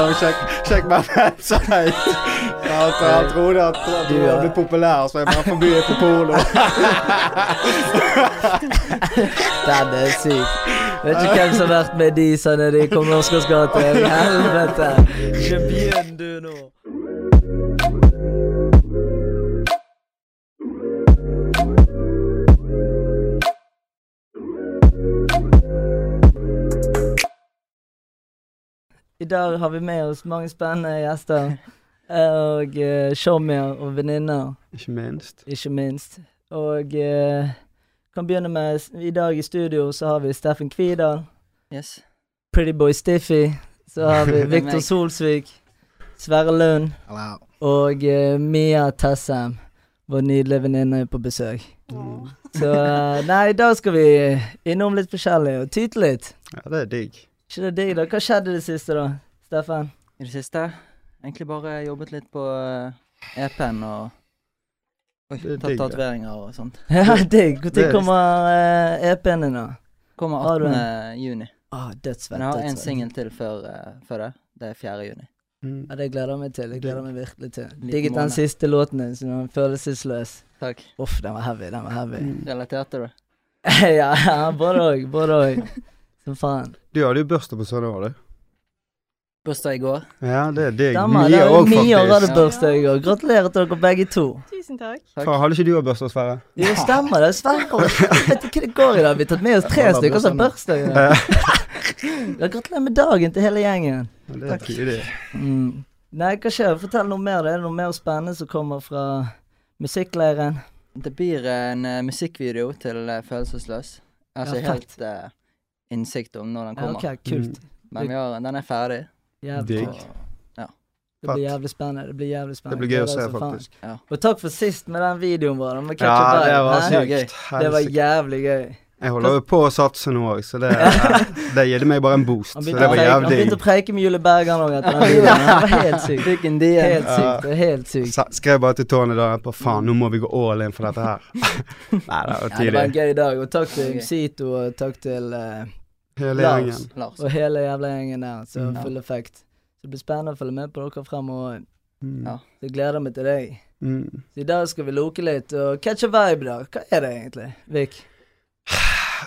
Ja, Sjekk, sjekk meg website. Nou, Han, han trodde at at du hadde blitt populær, så jeg bare forbyr på porno. Den er syk. Vet ikke hvem som har vært med de sa når de kom til Oscars gate. Helvete. Ikke begynn du nå. I dag har vi med oss mange spennende gjester. Og eh, showmier og venninner, Ikke minst. ikke minst. Og eh, kan begynne med s- I dag i studio så har vi Steffen Kvidal. Yes. Pretty Boy Stiffy. Så har vi Victor meg. Solsvik, Sverre Lund og eh, Mia Tessem, vår nydelige venninne, på besøk. Så eh, nei, i dag skal vi innom litt forskjellig og tyte litt. Ja, det er digg. Ikke det digg, da? Hva skjedde det siste, da? Steffen? I det siste egentlig bare jobbet litt på eh, EP-en og Oi, Det er tatt digg, det. tatoveringer og sånt. Ja, digg. det er- Når kommer eh, EP-en din, da? Kommer Har du altså. 18. juni. Å, Men dødsfett. jeg har en dødsfett. singel til før, eh, før det. Det er 4. juni. Mm. Ja, det gleder jeg meg til. Jeg gleder meg virkelig til. Liten Digget den måned. siste låten din, så den var følelsesløs. Takk. Uff, den var heavy, den var heavy. Mm. Relaterte du? ja, ja, både òg, både òg. Som faen. Du hadde jo bursdag på søndag, var det? Bursdag i går. Ja, det er digg. Damer, det Mye er òg, ni år hadde faktisk. Ja. bursdag i går. Gratulerer til dere begge to. Tusen takk. Takk. Faen, hadde ikke du òg bursdag, Sverre? Jo, stemmer det. Sverre og Vet du hva det går i dag? Vi har tatt med oss tre Ja, da blir stykker som det har bursdag. i dag. Ja, Gratulerer med dagen til hele gjengen. Ja, Det er tidlig. Mm. Nei, hva skjer? Fortell noe mer. Er det noe mer spennende som kommer fra musikkleiren? Det blir en eh, musikkvideo til eh, Følelsesløs. Jeg har Ja, ikke helt eh, innsikt om når den Ja, kommer, ok, kult. men vi har, den er ferdig. Jævlig. Mm. Digg. kult. Det Fett. blir jævlig spennende. Det blir jævlig Det spennende. blir gøy å Gleder se, oss som faen. faktisk. Ja. Og takk for sist med den videoen vår. da, Med Ja, Ketchup Diet, det var hæ? Det var gøy. sykt. Det var Helsike. jævlig gøy. Jeg holder jo på å satse nå òg, så det, det gir meg bare en boost. Han Så begynte, det å var preike- han jævlig begynte å preike med Julie Bergan òg etter den videoen. Det var helt sykt. Fikk en DM. Helt sykt. Det er helt sykt. Sa- Skrev bare til Tony da på faen, nå må vi gå all in for dette her. Nei, det var Ja, det var en tidlig. gøy dag. Og takk til Gøy. Msito, og takk til eh, Hele Lars. gjengen. Lars. og hele jævla gjengen der. Så Mm. full effekt. Så det blir spennende å følge med på dere fremover. Mm. Ja. Så jeg gleder meg til deg. Mm. Så i dag skal vi loke litt og catch a vibe, da. Hva er det egentlig, Vik?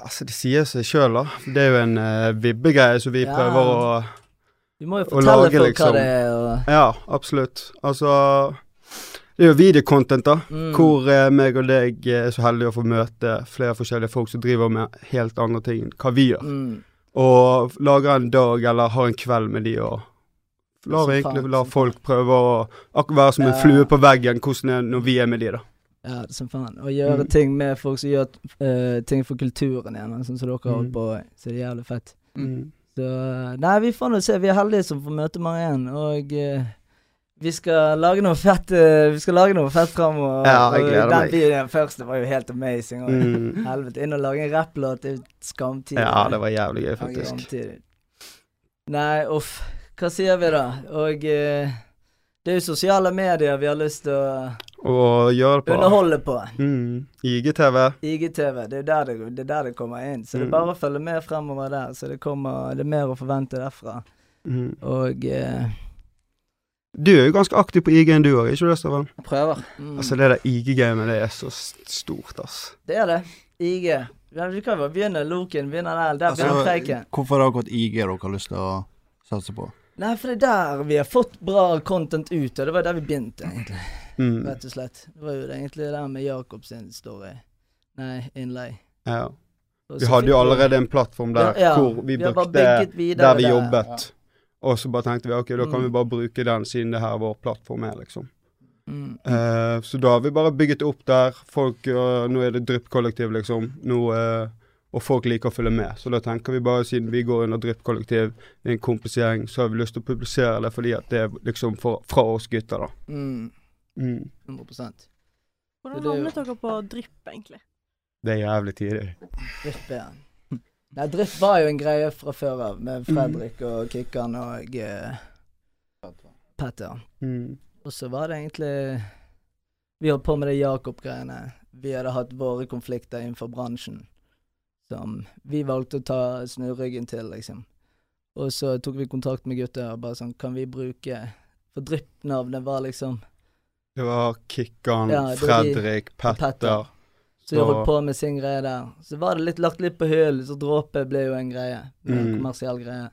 Altså, det sier seg sjøl, da. Det er jo en eh, vibbegreie som vi Ja. prøver å Du må jo Å fortelle lage, folk liksom. hva det er. Og, Ja, absolutt. Altså Det er jo videocontent, da. mm. Hvor eh, meg og deg er så heldige å få møte flere forskjellige folk som driver med helt andre ting enn hva vi gjør. Mm. Og lager en dag eller har en kveld med de og lar Som egentlig faen, la som folk prøve å ak være som en Ja. flue på veggen hvordan det er når vi er med de, da. Ja, det er som faen. Å gjøre Mm. ting med folk som gjør eh, ting for kulturen igjen, sånn som dere har holdt Mm. på med. Så det er jævlig fett. Mm. Så eh, Nei, vi får nå se. Vi er heldige som får møte mange igjen. Og eh, vi skal lage noe fett eh, Vi skal lage noe fett fremover. Ja, jeg gleder og den meg. videoen først det var jo helt amazing. Og, Mm. Helvete. Inn og lage en rapplåt er jo skamtid. Ja, det var jævlig gøy, Ja, faktisk. skamtid. Nei, uff. Hva sier vi, da? Og eh, det er jo sosiale medier vi har lyst til å Og gjøre det på underholde på. mm. IGTV. IGTV, det er der det, det, er der det kommer inn. Så det Mm. er bare å følge med fremover der. Så det, kommer, det er mer å forvente derfra. Mm. Og eh, Du er jo ganske aktiv på IG enn du òg, ikke du, Stavan? Jeg prøver. mm, Altså, det der IG-gamet, det er så s- stort, ass. det er det. IG. Ja, vi kan jo bare begynne Loken, begynne der. Der Altså, begynner preiken. Hvorfor har dere et IG dere har lyst til å satse på? Nei, for det er der vi har fått bra content ut, og det var der vi begynte, egentlig. Mm. Rett og slett. Det var jo det, egentlig det der med Jakob sin story. Nei, innlegg. Ja. Og Vi så hadde fikk jo allerede en plattform der Ja, ja. hvor vi har bare brukte bygget videre Der vi det. jobbet. Og så bare tenkte vi ok, da kan Mm. vi bare bruke den siden det her vår plattform er, liksom. Mm. Eh, så da har vi bare bygget opp der. Folk, eh, nå er det dryppkollektiv, liksom. Nå, eh, og folk liker å følge med. Så da tenker vi bare, siden vi går under dryppkollektiv, det er en kompisgjeng, så har vi lyst til å publisere det fordi at det er liksom fra, fra oss gutter, da. Mm. Mm. 100 Hvordan Det er jo- havnet dere på drypp, egentlig? Det er jævlig tidlig. Drypp er han. Nei, Drypp var jo en greie fra før av, med Fredrik og Kikkan og eh, Petter. Mm. Og så var det egentlig Vi holdt på med det Jakob-greiene. Vi hadde hatt våre konflikter innenfor bransjen som vi valgte å ta snurryggen til, liksom. Og så tok vi kontakt med gutta og bare sånn Kan vi bruke For drypp-navnet var liksom Det var Kikkan, Ja, det var de- Fredrik, Petter. Petter. Så Så- jeg holdt på med sin greie der. Så var det litt lagt litt på hyll, så dråpe ble jo en greie. En Mm. kommersiell greie.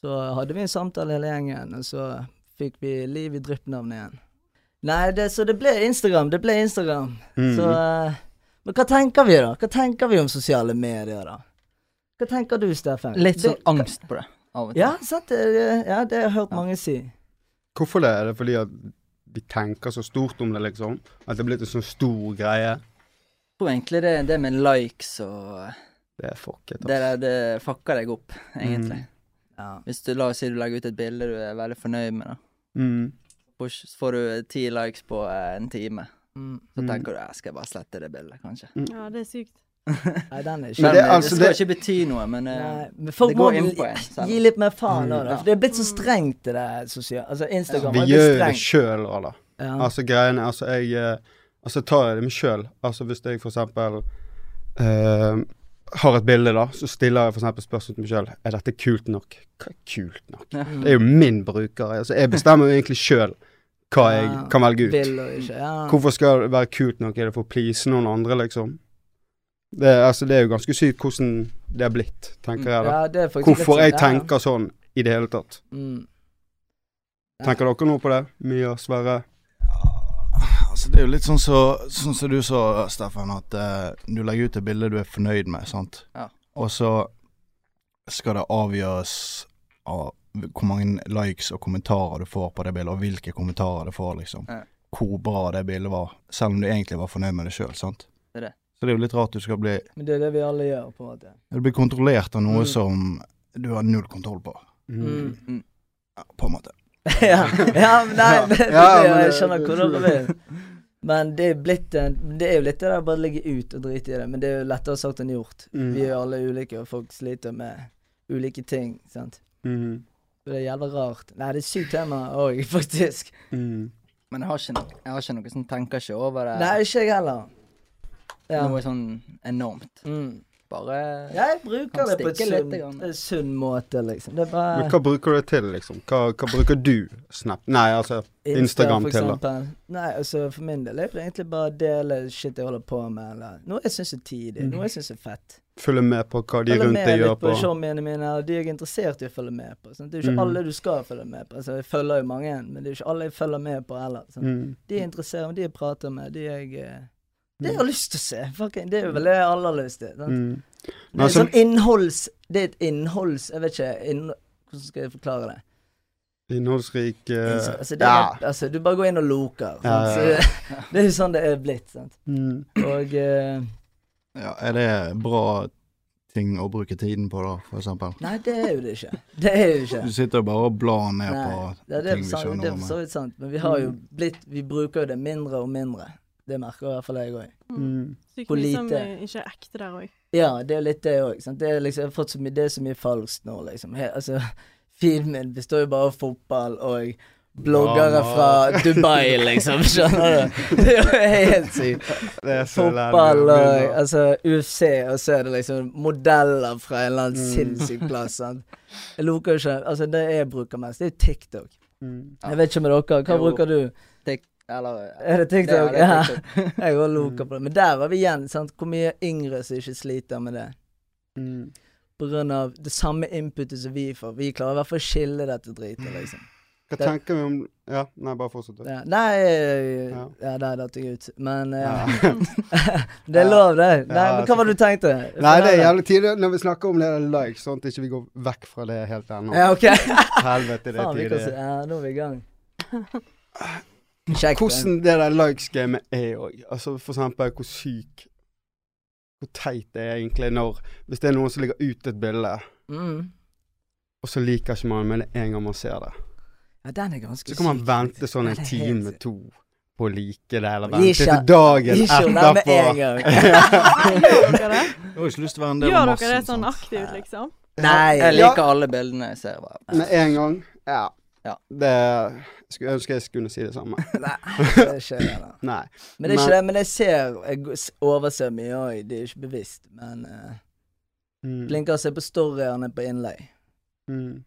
Så hadde vi en samtale hele gjengen, og så fikk vi liv i drypp-navnet igjen. Nei, det, så det ble Instagram. Det ble Instagram. Mm. Så eh, Men hva tenker vi, da? Hva tenker vi om sosiale medier, da? Hva tenker du, Steffen? Litt sånn Det- angst på det av og til. Ja, sant? Det, det- ja, det har jeg hørt Ja. mange si. Hvorfor det? Er det fordi at vi tenker så stort om det, liksom? At det er blitt en sånn stor greie? Jeg tror egentlig det, det med likes og eh, Det er fucket, det der, det fucker deg opp, egentlig. Mm. Ja. Hvis du la oss si du legger ut et bilde du er veldig fornøyd med, da. Mm. Får ikke- Så får du ti likes på eh, en time. Mm. Så Mm. tenker du "Eh, skal jeg bare slette det bildet, kanskje. Ja, det er sykt. Nei, den er ikke Men det det, er altså- det skal det- ikke bety noe, men eh, Nei, men det folk må går inn på gi- en selv. gi litt mer faen nå, da. Ja. For det er blitt så strengt, det der sosiale Altså, Instagram Mm. Vi har blitt gjør jo det strengt. sjøl òg, da. Ja. Altså greiene Altså, jeg eh, Altså, tar jeg det med sjøl. Altså, hvis jeg for eksempel eh, har et bilde, da, så stiller jeg for eksempel spørsmål til meg sjøl. Er dette kult nok? Hva er kult nok? Ja. Det er jo min bruker. Altså, jeg bestemmer jo egentlig sjøl hva jeg Ja, kan velge ut. Vil og ikke. Ja. Hvorfor skal det være kult nok? Er det for å please noen andre, liksom? Det, er- altså, det er jo ganske sykt hvordan det er blitt, tenker jeg da. Ja, det er faktisk litt Hvorfor sånn- jeg ja. tenker sånn i det hele tatt. Mm. Ja. Tenker dere noe på det? Mia, Sverre? Altså, det er jo litt sånn som så, sånn som du sa, Steffen, at eh, du legger ut et bilde du er fornøyd med, sant. Ja. Og så skal det avgjøres av hvor mange likes og kommentarer du får på det bildet, og hvilke kommentarer du får, liksom. Ja. Hvor bra det bildet var, selv om du egentlig var fornøyd med det sjøl, sant. Det er det. Så det er jo litt rart du skal bli Men det er det vi alle gjør, på en måte. Du blir kontrollert av noe Mm. som du har null kontroll på, Mm. mm. ja, på en måte. ja. ja, men nei, det, det, Ja, men jeg det- skjønner det- hvor dere vil. Men det er, blitt en, det er jo litt det der bare å ligge ut og drite i det, men det er jo lettere sagt enn gjort. Mm. Vi er jo alle ulike, og folk sliter med ulike ting, sant. Mm. Så det er jævla rart. Nei, det er sykt tema òg, faktisk. Mm. Men jeg har ikke, noe- jeg har ikke noe sånn tenker ikke over det. Nei, ikke jeg heller. Ja. Noe sånn enormt. Mm. Bare Jeg bruker Kan det på et stikke litt sunn, grann. en sunn måte, liksom. Det er Men bare hva bruker du det til, liksom? Hva, hva bruker du Snap? Nei, altså Instagram for til, da. eksempel. Nei, altså for min del er det egentlig bare å dele shit jeg holder på med, eller noe jeg syns er tidig, noe jeg syns er fett. følge med på hva Mhm. de Følge rundt med deg gjør litt på. på showmiene mine, og de jeg er interessert i å følge med på. Sant? Det er jo ikke Mhm. alle du skal følge med på. Altså, jeg følger jo mange, men det er jo ikke alle jeg følger med på heller. Sant? Mm. De jeg interesserer meg, de jeg prater med, de jeg eh, Det jeg Mhm. har lyst til å se. Fucking, det er jo vel det alle har lyst til. Sant? Mm. Det Men er altså, sånn innholds... Det er et innholds... Jeg vet ikke inn, Hvordan skal jeg forklare det? innholdsrik Inns- eh, altså, det er, Ja. altså, du bare går inn og loker. Sant? Ja, ja, Så ja. det, det er jo sånn det er blitt. Sant? Mm. Og eh, Ja, er det bra ting å bruke tiden på da, for eksempel? Nei, det er jo det ikke. Det er jo ikke. Du sitter jo bare og blar ned Nei, på det er det, ting vi sant, skjønner det er om. for så vidt sant, men vi har jo Mm. blitt Vi bruker jo det mindre og mindre. Det merker i hvert fall jeg òg. Mm. Sykt Hvor mye som lite? eh, ikke er ekte der òg. Ja, det er jo litt det òg. Det, er liksom, jeg har fått så mye- det er så mye falskt nå, liksom. He, altså, feeden min består jo bare av fotball og bloggere Drama. fra Dubai, liksom. Skjønner du? Det er jo helt sykt. Det er så Fotball lærlig. og altså, UFC, og så er det liksom modeller fra en eller annen Mm. sinnssyk plass. Sant? Jeg lukker jo ikke Altså, det jeg bruker mest, det er TikTok. Mm. Jeg vet ikke med dere, hva Jo. bruker du? Tik, eller Er det Det er- TikTok? det Ja, er TikTok. jeg går og Mm. luker på det. Men der var vi igjen, sant. Hvor mye yngre som ikke sliter med det. Mm. På grunn av det samme inputet som vi får. Vi klarer i hvert fall å skille dette dritet, liksom. Hva Det- tenker vi om Ja, nei, bare fortsett. du. Ja. Nei eh, Ja. Ja, der datt jeg ut. Men eh, ja. Ja. Det er lov, det. Nei, Ja, men hva var det du tenkte? Nei, det er jævlig tidlig når vi snakker om det der likes, sånn at ikke vi går vekk fra det helt ennå. Ja, ok. Helvete, det Faen, er vi kan se. tidlig. Ja, nå er vi i gang. Kjekt. Hvordan det der likes-gamet er òg. Altså for eksempel hvor syk Hvor teit det er egentlig når Hvis det er noen som legger ut et bilde, Mm. og så liker ikke man det med det en gang man ser det. Ja, den er ganske Så kan man syk. vente sånn Ja, en det er helt time, sykt. to på å like det, eller Gi vente til ikke- dagen Ikke om den med en etterpå. gang. Gjør dere det? Jeg har jo ikke lyst til å være en del Gjør av dere det massen. sånn sant? aktivt, liksom? Nei. Jeg Ja. liker alle bildene jeg ser. Bare. Med en gang. Ja. Ja. Det skulle ønske jeg skulle si det samme. Nei, det er ikke det. da. Nei. Men det er ikke det, men jeg ser Jeg går- s- overser mye òg, det er ikke bevisst. Men eh, Mm. flinkere å se på storyene på innlegg. Mm.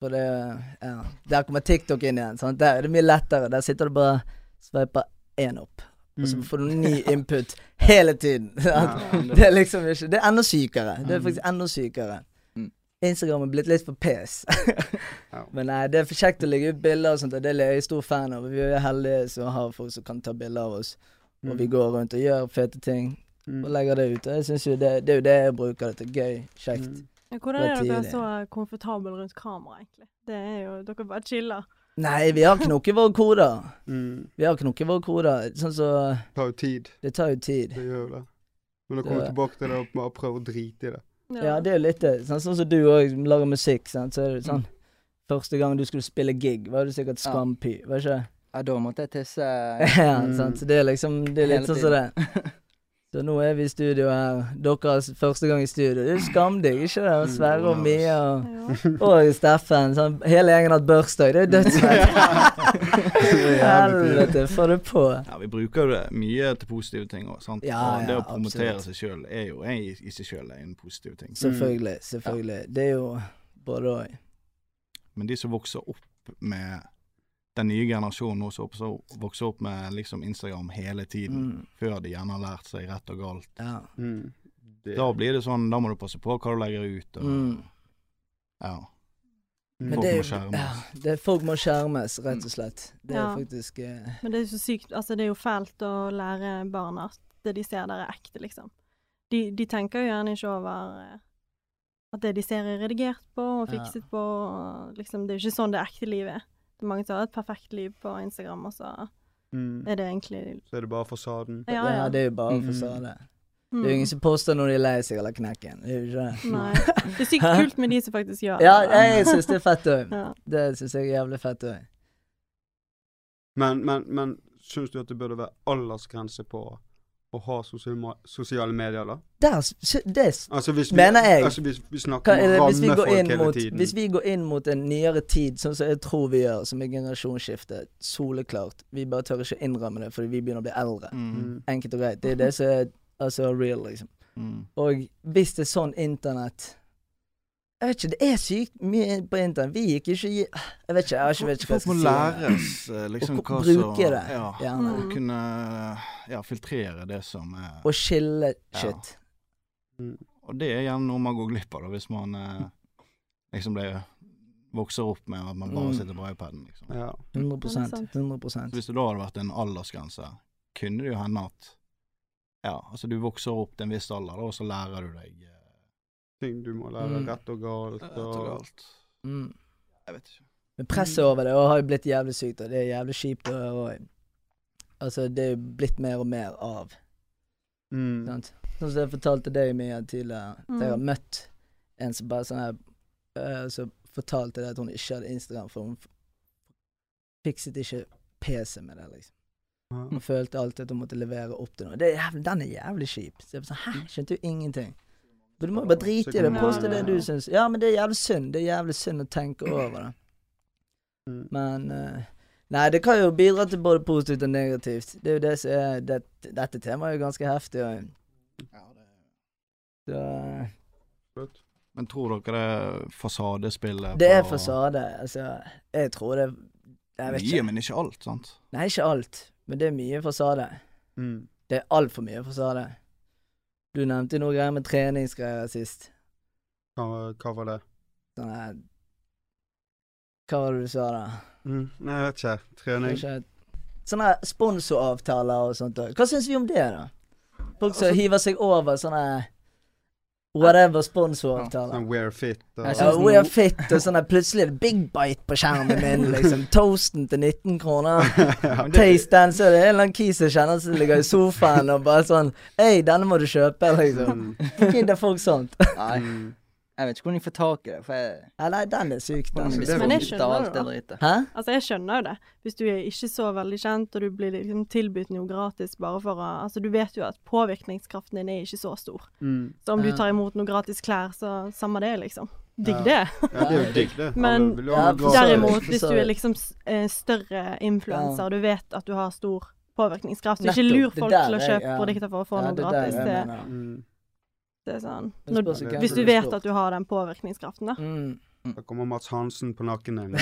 For det, ja. Der kommer TikTok inn igjen. Sant? Der er det mye lettere. Der sitter du bare sveiper én opp, og så Mm. får du ny input hele tiden. sant? Det er liksom ikke Det er enda sykere. Det er faktisk enda sykere. Mm. Instagram er blitt litt for pes. Ja. Men nei, det er for kjekt å legge ut bilder og sånt, og det er jeg stor fan av. Vi er jo heldige som har folk som kan ta bilder av oss, og vi går rundt og gjør fete ting og Mm. legger det ut. Og jeg synes jo det, det er jo det jeg bruker det til. Gøy, kjekt. Mm. Men Hvordan er Det er dere tidlig. så komfortable rundt kamera, egentlig? Det er jo, Dere bare chiller. Nei, vi har knokket våre koder. Mm. Vi har knokket våre koder. Sånn så Det tar jo tid. Det tar jo tid. Det gjør jo det. Men å Det- komme tilbake til det og bare prøve å drite i det. Ja, det er jo litt det. Sånn, sånn som du òg lager musikk, sant? så er det sånn Første gang du skulle spille gig, var du sikkert Ja. skampy, var ikke det? Ja, da måtte jeg tisse. Ja, Mm. sant. Så det er liksom Det er litt Hele sånn som det. Så nå er vi i studio her. Deres første gang i studio. Det er jo skamdigg, ikke det? Og Sverre og Mia og, Ja. og Steffen. Sånn, hele gjengen har hatt bursdag. Det er dødsfett. Helvete, få det på. Ja, vi bruker det mye til positive ting òg, sant. Ja, Og det ja, å promotere absolutt. seg sjøl er jo er i, i seg sjøl en positiv Mm. ting. Selvfølgelig. Selvfølgelig. Det er jo både òg. Men de som vokser opp med den nye generasjonen nå, som også vokser opp med liksom Instagram hele tiden, Mm. før de gjerne har lært seg rett og galt. Ja. Mm. Det- Da blir det sånn, da må du passe på hva du legger ut. Og, Mm. ja. Mm. Men Folk det, må er- skjermes. ja, det, er- folk må skjermes, rett og Mm. slett. Det er Ja. faktisk eh, Men det er jo så sykt, altså det er jo fælt å lære barna at det de ser der er ekte, liksom. De, de tenker jo gjerne ikke over eh, at det de ser er redigert på og Ja. fikset på, og liksom det er jo ikke sånn det ekte livet er. Det er mange som har et perfekt liv på Instagram, og så Mm. er det egentlig Så er det bare fasaden. Ja, ja, ja. det er jo bare Mm. fasade. Mm. Det er jo ingen som poster når de er lei seg eller knekken. Det er jo ikke det. Nei. Det er sykt Hæ? kult med de som faktisk gjør Ja, det. da. jeg syns det er fett òg. Ja. Det syns jeg er jævlig fett òg. Men, men, men syns du at det burde være aldersgrense på å ha sosiale, ma- sosiale medier, da? Der s- s- det s- Altså hvis vi, Mener jeg. Altså, vi, vi snakker hva er om å det, hvis, vi ramme går folk inn hele mot, tiden. hvis vi går inn mot en nyere tid, sånn som jeg tror vi gjør, som er generasjonsskiftet, soleklart Vi bare tør ikke innrømme det fordi vi begynner å bli eldre. Mm. Mm. Enkelt og greit. Det er det som er altså, real, liksom. Mm. Og hvis det er sånn internett Jeg vet ikke, det er sykt mye på internett. Vi gikk ikke i Jeg vet ikke, jeg har ikke vet ikke hva jeg Folk må skal si. læres eh, liksom Og hva ko- som bruke det. Ja. Gjerne. Og kunne ja, filtrere det som er Og skille Ja. shit. Og det er gjerne noe man går glipp av da, hvis man eh, liksom blir vokser opp med at man bare Mm. sitter på iPaden. Liksom. Ja. 100 sant. 100 Så hvis det da hadde vært en aldersgrense, kunne det jo hende at ja, altså du vokser opp til en viss alder, da, og så lærer du deg eh, Ting du må lære Mm. rett og galt. rett Og, og galt. mm. Jeg vet ikke. Men presset over det og har jo blitt jævlig sykt, og det er jævlig kjipt å høre òg. Altså, det er jo blitt mer og mer av. Mm. Sant? Sånn som jeg fortalte deg mye tidligere, at jeg har Mm. møtt en som bare sånn her eh, Så fortalte det at hun ikke hadde Instagram, for hun f- fikset ikke PC med det, liksom. Ja. Hun følte alltid at hun måtte levere opp til noe. Det er jævlig, den er jævlig kjip. Så jeg bare sånn, Hæ, skjønte jo ingenting. Men du må jo bare drite i det. Poste det du syns. Ja, men det er jævlig synd. Det er jævlig synd å tenke over det. Mm. Men eh, Nei, det kan jo bidra til både positivt og negativt. Det er jo det som er det, Dette temaet er jo ganske heftig. Og, så, Absolutt. Men tror dere det fasadespillet det er på- fasade. Altså, jeg tror det Jeg vet Mye, ikke. men ikke alt, sant? Nei, ikke alt. Men det er mye fasade. Mm. Det er altfor mye fasade. Du nevnte jo noe greier med treningsgreier sist. Hva, hva var det? Sånn her Hva var det du sa da? Mm. Nei, jeg vet ikke. Trening. Kanskje Sånne her sponsoravtaler og sånt òg. Hva syns vi om det, da? Folk som hiver seg over sånne whatever sponsoravtaler. Sånn wear fit. Og, Jeg Ja, synes we are no- fit og sånn her plutselig er det big bite på skjermen min, liksom. Toasten til 19 kroner. Men det- Taste den, så er det en eller annen kis jeg kjenner som ligger i sofaen og bare sånn Hei, denne må du kjøpe, liksom. Mm. Gidder folk sånt? Nei, Mm. jeg vet ikke hvordan de får tak i det. For jeg, Ja, nei, den Altså, er liksom. syk, hvordan den. de det blir er vanskelig. smitt av alt det drittet. Hæ? Altså, jeg skjønner jo det. Hvis du er ikke så veldig kjent, og du blir liksom tilbudt noe gratis bare for å Altså, du vet jo at påvirkningskraften din er ikke så stor. Mm. Så om du Ja. tar imot noe gratis klær, så samme det, liksom. Ja. Digg det. Ja, det er jo digg, det. Men- Alle vil jo ha Ja, for noe så gratis. vidt. Derimot, hvis for så du er vidt. liksom s- eh, større influenser, Ja. du vet at du har stor påvirkningskraft, så ikke Nettopp, lur det folk der til å er- kjøpe ja. produkter for å få Ja, noe det er gratis. der jeg Det, mener. Mm. Det er sånn Det når, spørs jo hvem Hvis du som vet slår. at du har den påvirkningskraften, da. mm. Da kommer Mats Hansen på nakken din.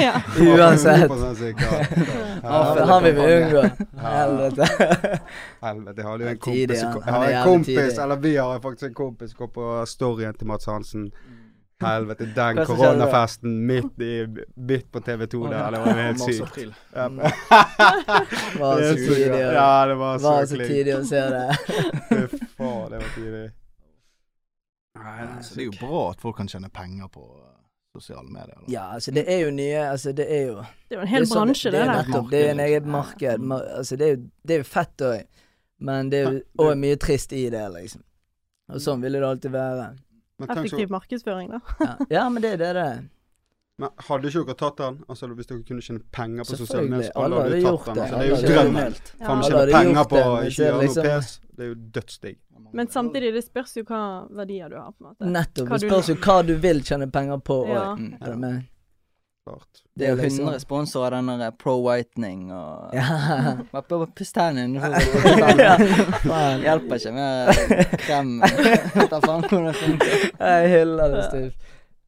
ja. Uansett. 100% sikker. Ja, for det han vil vi kan unngå. Ja. Helvete. Helvete, jeg hadde jo en Tidig, kompis, han. jeg Han har er en jævlig kompis tidig. eller vi har faktisk en kompis som går på storyen til Mats Hansen. Helvete, Mm. Hva den som skjedde da? koronafesten midt, i, midt på TV 2 der, det var jo helt sykt. Ja, Mm. Var så det er så tidlig å- gøy. Ja, det var så, var så klink. tidlig å se det. Fy faen, det var tidlig. Nei, Så det er jo bra at folk kan tjene penger på eh, sosiale medier. da. Ja, altså det er jo nye Altså det er jo Det er jo en hel er sånn- bransje, det, er der. nettopp- Det er en Marked, eget liksom. marked. Mm. Ma- Altså det er jo, det er jo fett òg, men det er jo òg mye trist i det, liksom. Og sånn ville det alltid være. Men, tenk så, Effektiv markedsføring, da. Ja, ja men det er det det er. men hadde ikke dere tatt den? Altså, hvis dere kunne tjene penger på sosiale medier, Selvfølgelig. Alle så alle hadde hadde jo gjort tatt den. det. Altså, Alle det er jo hadde drømmen. meldt. Ja. Faen, Alle tjene hadde penger gjort på det, men å så er ikke det gjøre noe liksom- pes, det er jo dødsdigg. Men samtidig, det spørs jo hva verdier du har, på en måte. Nettopp. Hva Det du- spørs jo hva du vil tjene penger på òg. Ja. Mm. Er du med? Klart. Det er jo liksom- 100 sponsorer av den der Pro Whitening og Ja. Bare på- Puss tennene. Ja, faen. Hjelper ikke med krem. Ta faen hvordan det funker. Jeg hyller det stivt.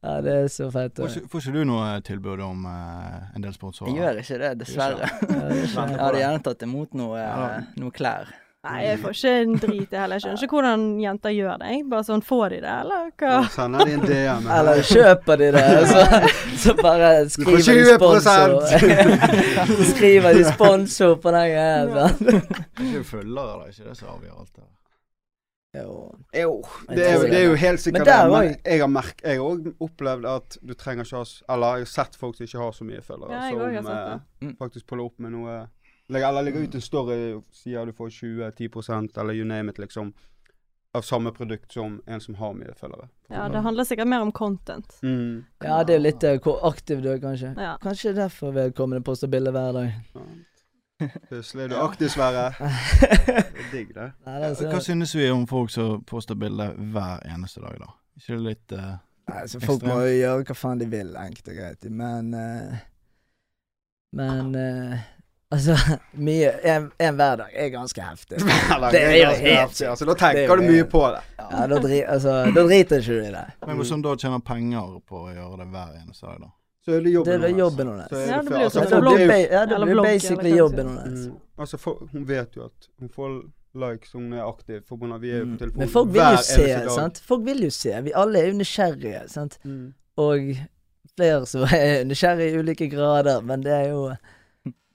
Ja, det er så fett. Får også. ikke, får ikke du noe tilbud om eh, en del sponsorer? Jeg gjør ikke det, dessverre. Ja, det er så- Jeg hadde gjerne tatt imot noe, eh, noe klær. Nei, jeg får ikke en drit, jeg heller. Jeg skjønner ikke hvordan jenter gjør det. Jeg. Bare sånn, får de det, eller hva? Nå Sender de en DM. her. Eller kjøper de det, og så, så bare Du får skriver de sponsor. 20%. skriver de sponsor på den greia. sant? Det er ikke følgere, da. Ikke det som avgjør alt. det. Jo. Jo, Jeg det er, jo- tror det er jo helt Men sikkert der det, var men jeg har merk, jeg har også opplevd at du trenger ikke ha s- Eller jeg har sett folk som ikke har så mye følgere, Ja, jeg som også har sett eh, det. Mm. faktisk puller opp med noe legger- Eller legger ut en story og sier du får 20-10 eller you name it, liksom, av samme produkt som en som har mye følgere. Ja, det handler sikkert mer om content. Mm. Ja, det er jo litt eh, hvor aktiv du er, kanskje. Ja. Kanskje derfor vedkommende poster bilder hver dag. Plutselig er du aktiv, Sverre. Det er Digg, det. Nei, det er Hva så, synes vi om folk som poster bilder hver eneste dag, da? Ikke det litt eh, nei, så folk må jo gjøre hva faen de vil, enkelt og greit. Men eh, Men eh, altså Mye En en hver dag er ganske heftig. Eller, Det er jo ganske helt heftig, altså, Da Det er tenker jo du mye helt- på det. Ja, da, dri, altså, da driter ikke du i det. Men hvordan da tjener penger på å gjøre det hver eneste dag, da? Så er det Det jobben er hennes. jobben hennes. Så er Ja, det før- det blir jo altså, sånn. Ja, da blir ba- for det er jo- Eller ja, da eller blir blogg, basically eller hva det jobben hennes. Mm. Altså, for, hun vet jo at hun får likes, hun er aktiv, for hun er, vi er jo på telefonen Mm. Men folk vil hver jo se, eneste dag. sant. Folk vil jo se. Vi alle er jo nysgjerrige, sant. Mm. Og flere som er nysgjerrige i ulike grader, men det er jo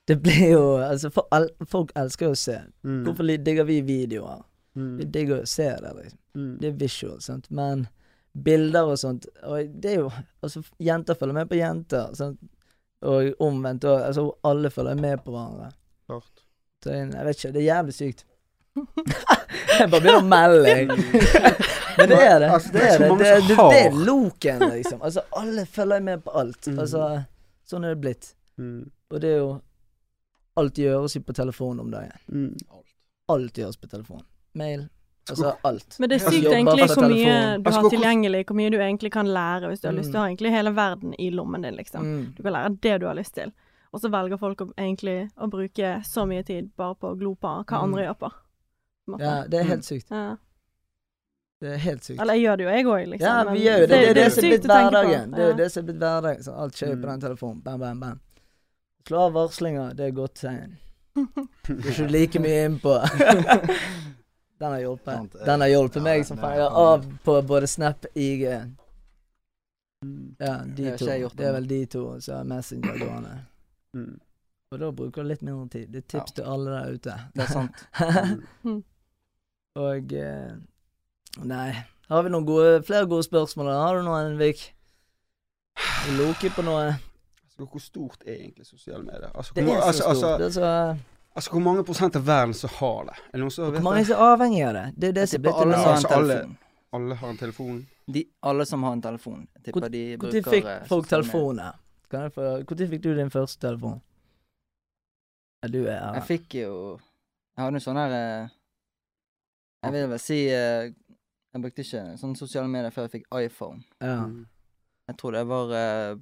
Det blir jo Altså, for al folk elsker jo å se. Mm. Hvorfor li- digger vi videoer? Vi Mm. digger å se det, liksom. Mm. Det er visual, sant. Men bilder og sånt Og det er jo Altså, jenter følger med på jenter, sant. Og omvendt òg. Altså, alle følger med på hverandre. Klart. Så jeg jeg vet ikke, det er jævlig sykt. jeg bare begynner å melde, jeg. Men det er det. Altså, det, er det. så mange det, er- som det, har. det er loken, liksom. Altså, alle følger med på alt. Mm. Altså, sånn er det blitt. Mm. Og det er jo Alt gjøres jo på telefon om dagen. Mm. Alt gjøres på telefon. Mail. Altså alt. Men det er Altså, sykt jobber egentlig fra hvor mye telefon. du Altså, har hvor- tilgjengelig, hvor mye du egentlig kan lære hvis du har lyst. Du Mm. har egentlig hele verden i lommen din, liksom. Mm. Du kan lære det du har lyst til. Og så velger folk å, egentlig å bruke så mye tid bare på å glo på hva Mm. andre gjør på. på en måte. Ja, det Mm. er helt sykt. Ja. Det er helt sykt. Eller jeg gjør det jo, jeg òg, liksom. Ja, men vi gjør jo det. Det er det som er blitt sykt å tenke på. hverdagen. Det er Ja. jo det som er blitt hverdagen. Så alt skjer jo på den Mm. telefonen. Bam, bam, bam. Slå av varslinger, det er godt tegn. Du er ikke like mye innpå. Den har hjulpet. Sant, eh, Den har hjulpet ja, meg som det faen. er Jeg har konge. av på både Snap IG. Mm. Ja, Det de har ikke to. jeg gjort Det er ennå. vel de to som har Messenger gående. Mm. Og da bruker du litt mindre tid. Det er tips til alle der ute. Det er sant. Mm. Og eh, Nei. Har vi noen gode, flere gode spørsmål? eller? Har du noen, Vik? Loke på noe? Altså, Hvor stort er egentlig sosiale medier? Altså, Det hvor, er ma- så altså, stort. altså, det er så altså, hvor mange prosent av verden som har det? Er det noen som Hvor vet mange er det? så avhengig av det? Det er jo det Jeg som er tipper blitt alle en sånn- Ja, som har annen en altså, alle- telefon. Alle har en telefon. De, alle som har en telefon. Jeg tipper de bruker Når fikk eh, folk sosiale medier. telefoner? Kan jeg få Når fikk du din første telefon? Ja, du er Jeg fikk jo Jeg hadde jo sånn her eh, Jeg vil vel si eh, Jeg brukte ikke sånne sosiale medier før jeg fikk iPhone. ja, Mm. Jeg tror det var eh,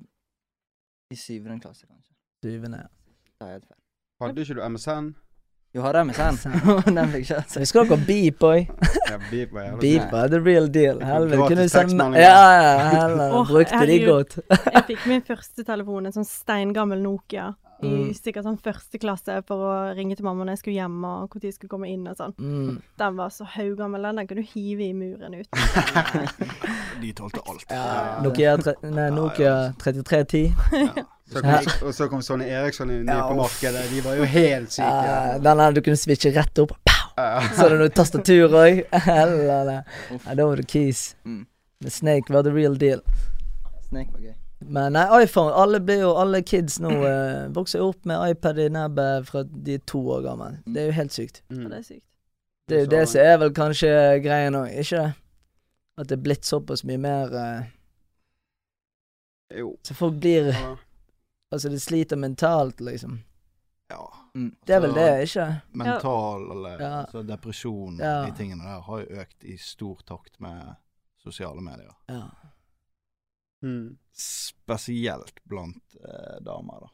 i syvende klasse, kanskje. syvende. Det er helt feil. Hadde ikke du MSN? Jo, har den med sen. den fikk kjørt seg. Husker dere Beep Boy? Ja, beep var jævlig Beep var the real deal. Jeg fikk Helvete, gratis kunne du sende tekstmeldinger. Ja, ja, heller. Åh, Brukte de herregud. godt. Jeg fikk min første telefon, en sånn steingammel Nokia, Mm. i sikkert sånn første klasse for å ringe til mamma når jeg skulle hjem og når jeg skulle komme inn og sånn. Mm. Den var så haugammel, den, den kunne du hive i muren ut. De tålte alt. Ja, Nokia, tre, nei, Nokia 3310. Så kom, og så kom Sonny Eriksson inn på markedet. De var jo helt syke. Ja, den der du kunne switche rett opp. Pow! Så hadde du tastatur òg. Eller det. Ja, da var du keys. Mm. Men Snake var the real deal. Snake var gøy. Men nei, iPhone Alle blir jo, alle kids nå eh, vokser jo opp med iPad i nebbet fra de er to år gamle. Det er jo helt sykt. Mm. Og det er sykt. Det er jo Så- det som er vel kanskje greia nå, ikke det? At det er blitt såpass mye mer eh, Jo. Så folk blir Ja. Altså, det sliter mentalt, liksom. Ja. Mm. Det er vel det, ikke det? Mental eller Ja. altså, depresjon og Ja. de tingene der har jo økt i stor takt med sosiale medier. Ja. Mm. Spesielt blant eh, damer, da.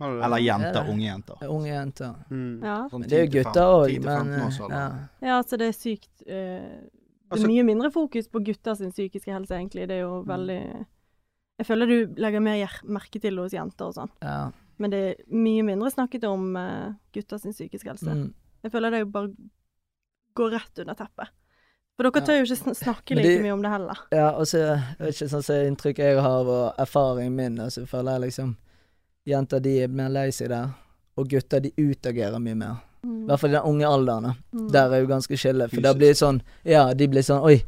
Har du det? Eller Ja, jenter. det- Unge jenter. Det er Unge jenter. Mm. Ja, Sånn Men det er jo 10 til gutter 15 òg, 10 til men 15 års eh, alder. ja. ja altså det er sykt eh, Det Altså- er mye mindre fokus på gutter sin psykiske helse, egentlig. Det er Mm. jo veldig Jeg føler du legger mer hjer- merke til det hos jenter og sånn, ja. men det er mye mindre snakket om eh, gutter sin psykiske helse. Mm. Jeg føler det jo bare går rett under teppet. For dere Ja. tør jo ikke sn- snakke Men like det- mye om det heller. Ja, og så jeg vet ikke sånn som inntrykk jeg har og erfaring min, og så føler jeg liksom Jenter de er mer lei seg der, og gutter de utagerer mye mer. I hvert fall i den unge alderen. da. Mm. Der er jo ganske skille, for da Fysisk. blir det sånn Ja, de blir sånn Oi,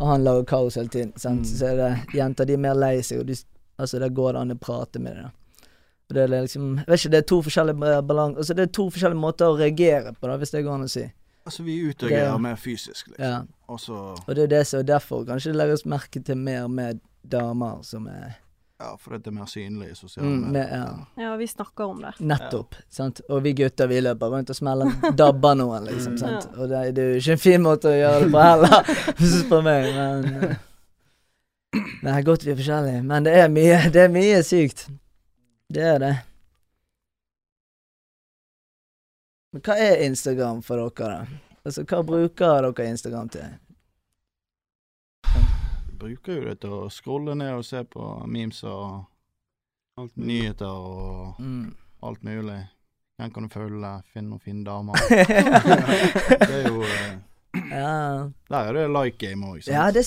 og han lager kaos hele tiden. Sant? Mm. Så er det jenter de er mer lei seg, og du, s- altså der går det an å prate med dem. da. Og det er liksom Jeg vet ikke, det er to forskjellige balanser Altså det er to forskjellige måter å reagere på, da, hvis det går an å si. Altså, vi utagerer Ja. mer fysisk, liksom. Ja. Og så Og det er det som derfor kanskje det legges merke til mer med damer som er Ja, for det er mer synlig i sosiale mm, med, medier. ja, Ja, vi snakker om det. Nettopp. sant? Og vi gutter, vi løper rundt og smeller dabber noen, liksom. Mm. sant? Ja. Og det, det er jo ikke en fin måte å gjøre det på heller, hvis du spør meg, men eh, Det er godt vi er forskjellige, men det er mye, det er mye sykt. Det er det. Men hva er Instagram for dere, da? Altså, hva bruker dere Instagram til? Bruker jo det til å scrolle ned og se på memes og Alt mulig. nyheter og Mm. alt mulig. Hvem kan du følge? Finn og finn damer. Det er ja. jo eh, Der er det like game òg, sant. ja, det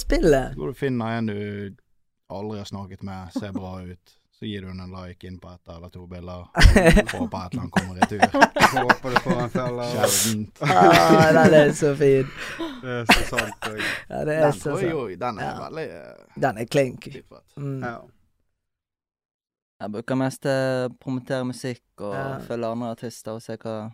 spillet. Så går du og finner en du aldri har snakket med, ser bra ut. Så gir du henne en like inn på ett eller to bilder. Håper et eller annet kommer i tur. Håper du får en felle. Sjeldent. ah, den er så fin. Det er så sant. og- Ja, det er Den så tror jeg sant. jo Eh, Den er Ja. veldig eh, Den er klink. dypfett. Mm. Ja. Jeg bruker mest til å promotere musikk og Ja. følge andre artister og se hva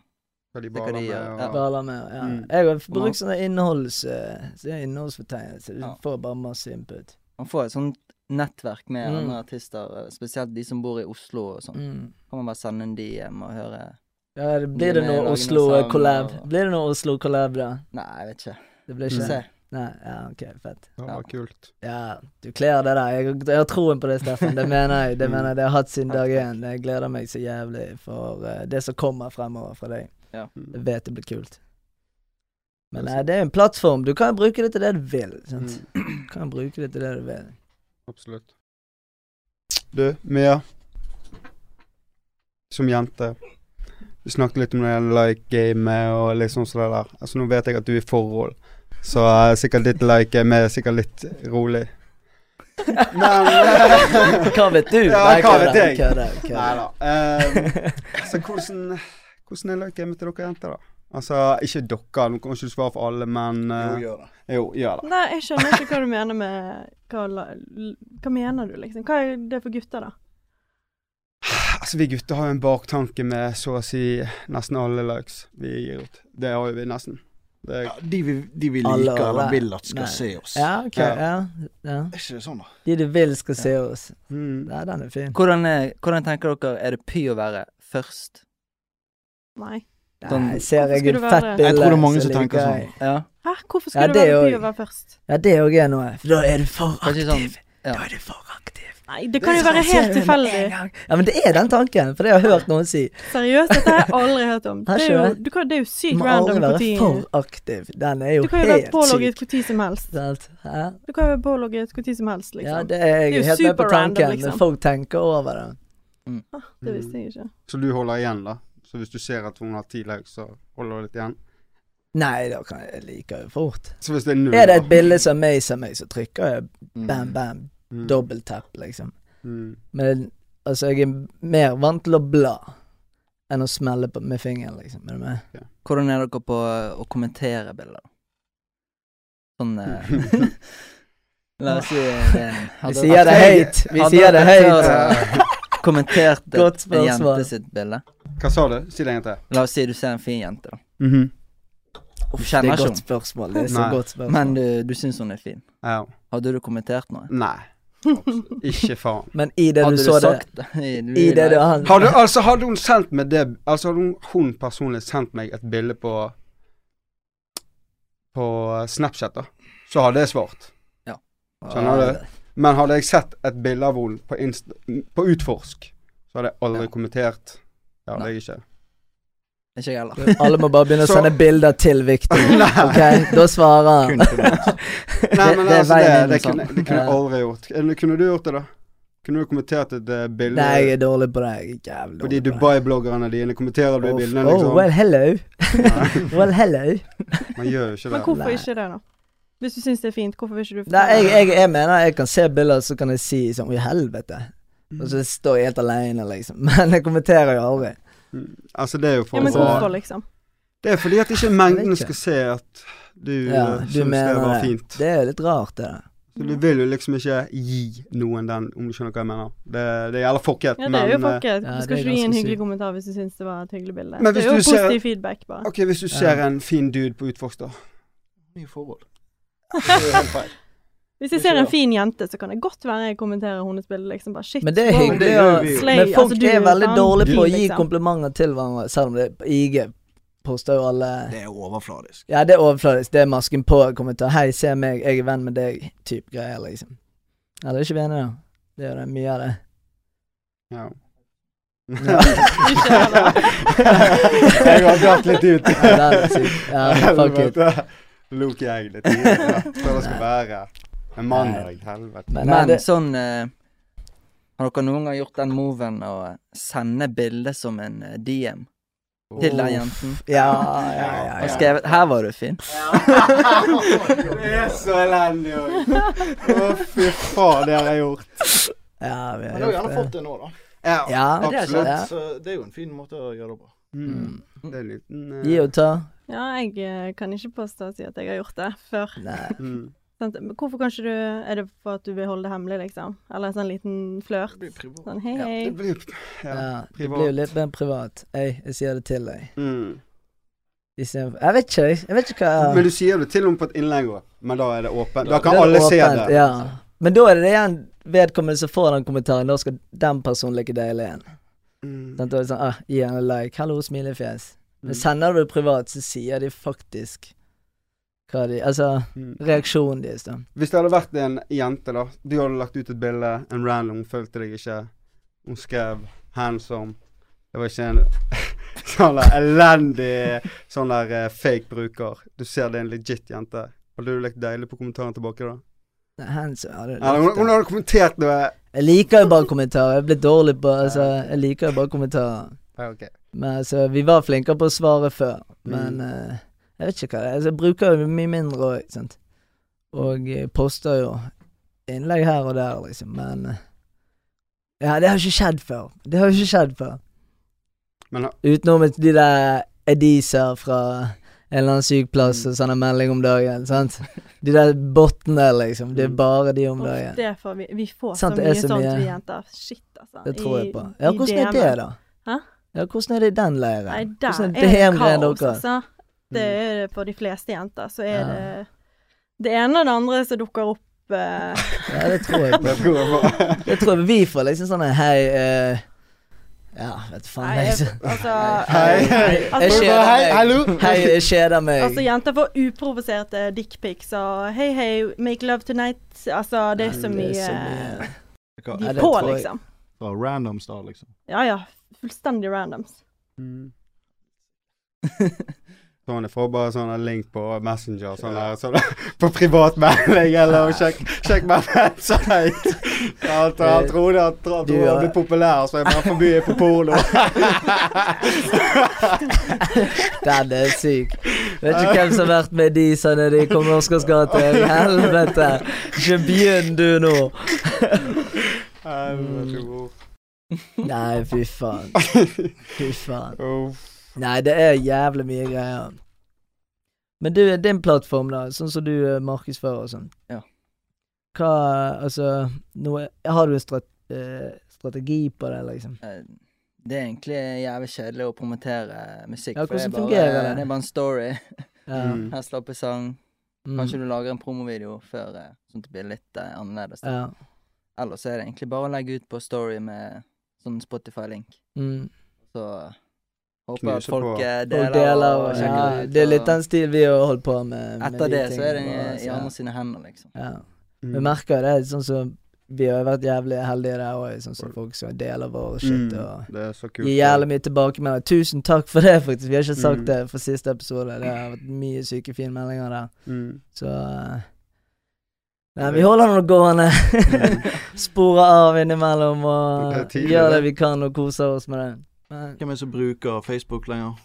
Hva de hva de baler med. gjør. Og, Baler med, ja. Mm. Jeg har brukt sånne innholds... eh, sånne innholdsfortegnelser. Du Ja. får bare masse input. Man får et sånt nettverk med Mm. andre artister, eh, spesielt de som bor i Oslo og sånn. Mm. Kan man bare sende en DM og høre Ja, det- blir det Mye mer noe lagende sound Oslo-collab? og- Mm. Blir det noe Oslo-collab, da? Nei, jeg vet ikke. Det blir Ikke ikke se. Nei, ja, ok, fett. det var kult. Ja, du kler det der. Jeg, jeg har troen på det, Steffen. Det mener jeg. Det mener jeg det har jeg hatt siden dag én. Jeg gleder meg så jævlig for eh, det som kommer fremover fra deg. Jeg Mm. vet det blir kult. Men nei, det er en plattform. Du kan bruke det til det du vil. Sant? Mm. Du kan bruke det til det du vil. Absolutt. Du, Mia. Som jente. Vi snakket litt om det like gamet og litt sånn som det der. Altså Nå vet jeg at du er i forhold, så eh, sikkert ditt like game er sikkert litt rolig. Men- Hva vet du? Ja, Nei, hva vet jeg? kødder, kødder, Nei da. kødder. Ehm, så hvordan, hvordan er like gamet til dere jenter, da? Altså, ikke dere, nå kan ikke du svare for alle, men eh, Jo, gjør det. Jo, gjør det. Nei, jeg skjønner ikke hva du mener med Hva, la- l- hva mener du, liksom? Hva er det for gutter, da? Altså, vi gutter har jo en baktanke med så å si nesten alle likes vi gir ut. Det har jo vi nesten. Det er, Ja, de vi, de vi Alle liker alle. eller vil at skal Nei. se oss. Ja, ok. Ja. Ja. ja. Er ikke det sånn, da? De du vil skal se oss. mm. Nei, den er fin. Hvordan, er, hvordan tenker dere er det py å være først? Nei. Nei, ser jeg Skulle et det fett være- bilde Jeg tror det er mange så som liker tenker jeg. sånn. Ja. Hæ, hvorfor Ja, skal det det være er py jo- å være først? Ja, det òg er noe. For da er du for Kanskje aktiv. sånn, ja. Da er du for aktiv. Nei, det kan jo være Ser helt du med tilfeldig. en gang? Ja, men det er den tanken, for det har jeg hørt noen si. Seriøst, dette har jeg aldri hørt om. Har Det er ikke jo, det? du kan, det er jo Du sykt må random aldri hvor være tid for aktiv. Den er jo Du kan jo være helt pålogget syk. hvor tid som helst. Sant? Hæ? Du kan jo være pålogget hvor tid som helst, liksom. Ja, det, det er Det er jeg jo helt med på superrandom, tanken, liksom. men folk tenker over den. ah, det visste jeg ikke. Så du holder igjen, da? Så hvis du ser at hun har ti likes, så holder du litt igjen? Nei, da kan jeg like jo fort. Så hvis det er null Er det et da? bilde som meg, meg, så trykker jeg bam, bam, Mm. dobbelttapp, liksom. Mm. Men altså, jeg er mer vant til å bla enn å smelle på, med fingeren, liksom. Er du med? Hvordan er dere på å kommentere bilder? Sånn eh, La oss si eh, det. Vi sier det høyt! Vi sier det høyt! Kommentert Godt et- en spørsmål. jente sitt bilde. Hva sa du? Si det en gang til. La oss si du ser en fin jente, da. Mhm. Du Det er kjenner et godt ikke henne, spørsmål. Det er så Nei. godt spørsmål. men du, du syns hun er fin. Ja. Hadde du kommentert noe? Nei. Mm. Ikke faen. Men i det Hadde du så det sagt det? I, du, I det du har Hadde, altså, hadde hun sendt meg det Altså hadde hun, hun personlig sendt meg et bilde på På Snapchat, da, så hadde jeg svart. Skjønner du? Men hadde jeg sett et bilde av henne på, Inst- på Utforsk, så hadde jeg aldri Ja. kommentert. Det hadde Nei. jeg ikke. Ikke jeg heller. Alle må bare begynne å Så- sende bilder til Victor. Ok, da svarer han. Kun privat. Nei, Det- men det er altså, det, veien inn, sånn. det, sant? kunne, det kunne jeg Ja. aldri gjort. Kunne- Kunne du gjort det, da? Kunne du kommentert et eh, bilde Nei, jeg er dårlig på det. Jeg er jævlig på de dårlig på det. Dubai-bloggerne dine? Kommenterer du Oh, bildene, oh, well, liksom? hello. Nei, Well, hello. man gjør jo ikke Men det. hvorfor Nei. ikke det, da? Hvis du syns det er fint, hvorfor vil ikke du Nei, jeg, fortelle jeg, jeg mener jeg kan se bilder, så kan jeg si sånn Å, helvete. Og så står jeg helt alene, liksom. Men jeg kommenterer jo aldri. Altså, det er jo Ja, for men å hvorfor, liksom? Det er fordi at ikke mengden ikke. skal se at du Ja, ja, du syns det mener var det. fint. Det er jo litt rart, det der. Så du vil jo liksom ikke gi noen den, om du skjønner hva jeg mener. Det, det gjelder fucket, Ja, det er jo men eh, folket. ja, Du det skal er ikke gi en ganske hyggelig sykt. kommentar hvis du syns det var et hyggelig bilde. Men Det hvis er jo du ser- positiv feedback, bare. eh, OK, hvis du ser en fin dude på utforsk, da. Nye forhold. Det er jo helt feil. Hvis jeg Ikke ser en da. fin jente, så kan det godt være jeg kommenterer hennes bilde, liksom bare shit. Men det er wow. hyggelig. det gjør å- vi jo. Slay, Men folk altså, du er veldig fan, dårlige på å du, gi liksom. komplimenter til hverandre, selv om det på IG poster jo alle Det er overfladisk. Ja, det er overfladisk. Det er masken på-kommentar. Hei, se meg, jeg er venn med deg. Typ greier, liksom. Eller ikke vi enige, da? Det er jo det, mye av det. Ja. Ikke heller. jeg har dratt litt ut. Ja, det er litt sykt. Ja, fuck it. Lok jeg litt i eh, det. Hva det skal være. En mandag, helvete. Men, Men, nei, det, sånn eh, Har dere noen gang gjort den moven å sende bilde som en eh, DM til den jenten? ja, ja, ja, Og ja. skrevet 'Her var du fin'. Det er så elendig òg. Å, fy faen, det har jeg gjort. ja vi Men har du har gjerne gjort fått det. det nå, da. Ja, absolutt. det er sånn, ja. Så det er jo en fin måte å gjøre det på. Mm. Mm. Det er en liten eh, Gi og ta. Ja, jeg eh, kan ikke påstå å si at jeg har gjort det før. Nei. mm. Sant? Men hvorfor kan ikke du Er det for at du vil holde det hemmelig, liksom? Eller en sånn liten flørt? Det blir privat. Sånn hei, Ja. hei. Det blir ja. Ja, det privat. blir jo litt mer privat. Ei, jeg sier det til deg. mm. I stedet for- Jeg vet ikke, jeg. Jeg vet ikke hva Men du sier det til og med på et innlegg òg, men da er det åpent. Da Det kan er alle se åpent, det. Ja. Men da er det igjen vedkommende som får den kommentaren. Da skal den personen like deilig igjen. Mm. Sånn, da er det sånn, ah, Gi henne like. Hallo, smilefjes. Men Mm. sender du det privat, så sier de faktisk hva de Altså Mm. reaksjonen deres, da. Hvis det hadde vært en jente, da. Du hadde lagt ut et bilde, en random, hun fulgte deg ikke. Hun skrev 'handsome'. Det var ikke en sånn der elendig sånn der eh, fake bruker. Du ser det er en legit jente. Hadde du lekt deilig på kommentaren tilbake da? Nei, Hands, ja, det er Eller hun, likt, hun da. hadde kommentert noe Jeg liker jo bare kommentarer. Jeg er blitt dårlig på altså, Jeg liker jo bare kommentarer. ja, ok. Men altså, vi var flinkere på å svare før, men Mm. eh, jeg vet ikke hva det er. Altså, jeg bruker jo mye mindre òg, sant. Og eh, poster jo innlegg her og der, liksom, men eh, Ja, det har ikke skjedd før. Det har ikke skjedd før. Men eh, ha- Utenom et- de der Ediser fra en eller annen syk plass Mm. og sender melding om dagen, sant. De der bottene, liksom. Det er Mm. bare de om Uff, dagen. det får vi, vi får Sant, så det er mye så sånt, mye. vi jenter. Shit, altså. Det tror jeg på. I- Ja, i hvordan er DM-en. det, da? Hæ? Ja, hvordan er det i den leiren? Nei, der Hvordan er det DM-greien kaos, dere? altså. Det er det for de fleste jenter. Så er Mm. Ja. det det ene og det andre som dukker opp eh, Ja, det tror jeg på. Det tror jeg på. Det tror jeg vi får liksom sånn Hei eh, Ja, vet du faen Nei, jeg, jeg- altså Hei, hei. jeg Altså, kjeder Hei, hallo. meg Hei, jeg kjeder meg altså, jenter får uprovoserte dickpics og hei, hei, make love tonight. Altså, det er så Det mye er så mye. Hva, De Ja, er det på, tror jeg. liksom. fra random star, liksom. Ja ja, fullstendig randoms. Mm. Sånn, jeg får bare sånn en link på Messenger sånn Ja. her, sånn, på privatmelding eller sjekk, sjekk meg på website. Han, han trodde at han Du trodde han er- ble populær, så jeg bare forbyr jeg på porno. Den er syk. Vet ikke hvem som har vært med de sa når de kom med Oscars gate. Helvete. Ikke begynn du nå. Mm. Helvete, bror. Nei, fy faen. Fy faen. Uff. Nei, det er jævlig mye greier. Men du, din plattform, da, sånn som du eh, markedsfører og sånn. Ja. Hva Altså, noe, har du en strat, eh, strategi på det, liksom? Eh, Det er egentlig jævlig kjedelig å promotere eh, musikk. Ja, for det er hvordan bare- fungerer det? Det er bare en story. Ja. Mm. Her slapper sang. mm, Kanskje du lager en promovideo før, eh, sånn at det blir litt eh, annerledes. ja. Ellers er det egentlig bare å legge ut på story med sånn Spotify-link. Mm. Så håper jeg at Knuse folk på. eh, Folk deler, deler og og sjekker ja, det ut. Det er litt og den stil vi har holdt på med. med de Etter det så er det tingene, i og- andre sine hender, liksom. Ja. Mm. Vi merker det, sånn som vi har vært jævlig heldige der òg, sånn som folk som deler vår shit Mm, og Det er så kult. Gi jævlig mye tilbakemeldinger. Tusen takk for det, faktisk. Vi har ikke sagt Mm. det for siste episode. Det har vært mye syke fine meldinger der. Mm. Så eh, Nei, vi holder nå gående. Sporer av innimellom og Mm. Det er tidlig, gjør det det. vi kan og koser oss med det. Men, Hvem er det som bruker Facebook lenger?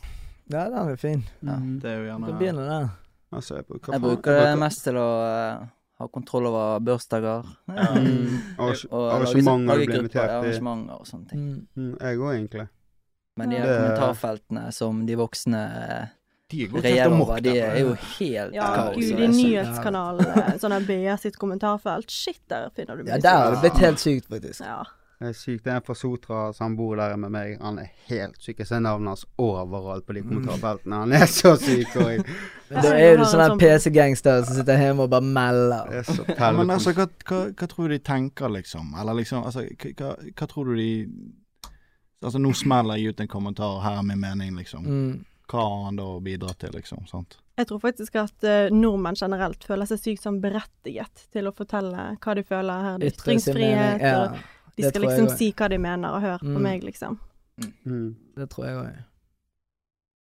ja, den er fin. Ja. Det er jo Du kan gjerne begynne der. Altså, jeg bruker, Jeg bruker det mest til å eh, ha kontroll over bursdager. Mm. Og Arrange- lage- Arrangementer lage du blir grupper, invitert i. Arrangementer og sånne ting. Mm. Mm, Jeg òg, egentlig. Men de Ja. her Det- kommentarfeltene som de voksne eh, De er godt kjent regjerer av over, mokk, de der. er jo helt Ja, kaos. gud, det i er så- nyhetskanalen, sånn her BA sitt kommentarfelt, shit, der finner du Ja, mye der har det sykt. blitt helt sykt, faktisk. Ja. Det er Eh, sykt. Det er en fra Sotra som bor der med meg. Han er helt syk. Jeg ser navnet hans overalt på Mm. de kommentarfeltene. Han er så syk. Og jeg Men da er du sånn der PC-gangster som sitter hjemme og bare melder. er så Ja, men perlet. altså, hva, hva, hva tror du de tenker, liksom? Eller liksom, altså, hva, hva- hva tror du de Altså, nå smeller jeg ut en kommentar, her er min mening, liksom. Mm. Hva har han da å bidra til, liksom? sant? Jeg tror faktisk at eh, nordmenn generelt føler seg sykt sånn berettiget til å fortelle hva de føler her. Det er Ytre sin mening. Ytringsfrihet, Ja, og de det skal tror jeg liksom også. si hva de mener, og hør på Mm. meg, liksom. Mm. det tror jeg òg.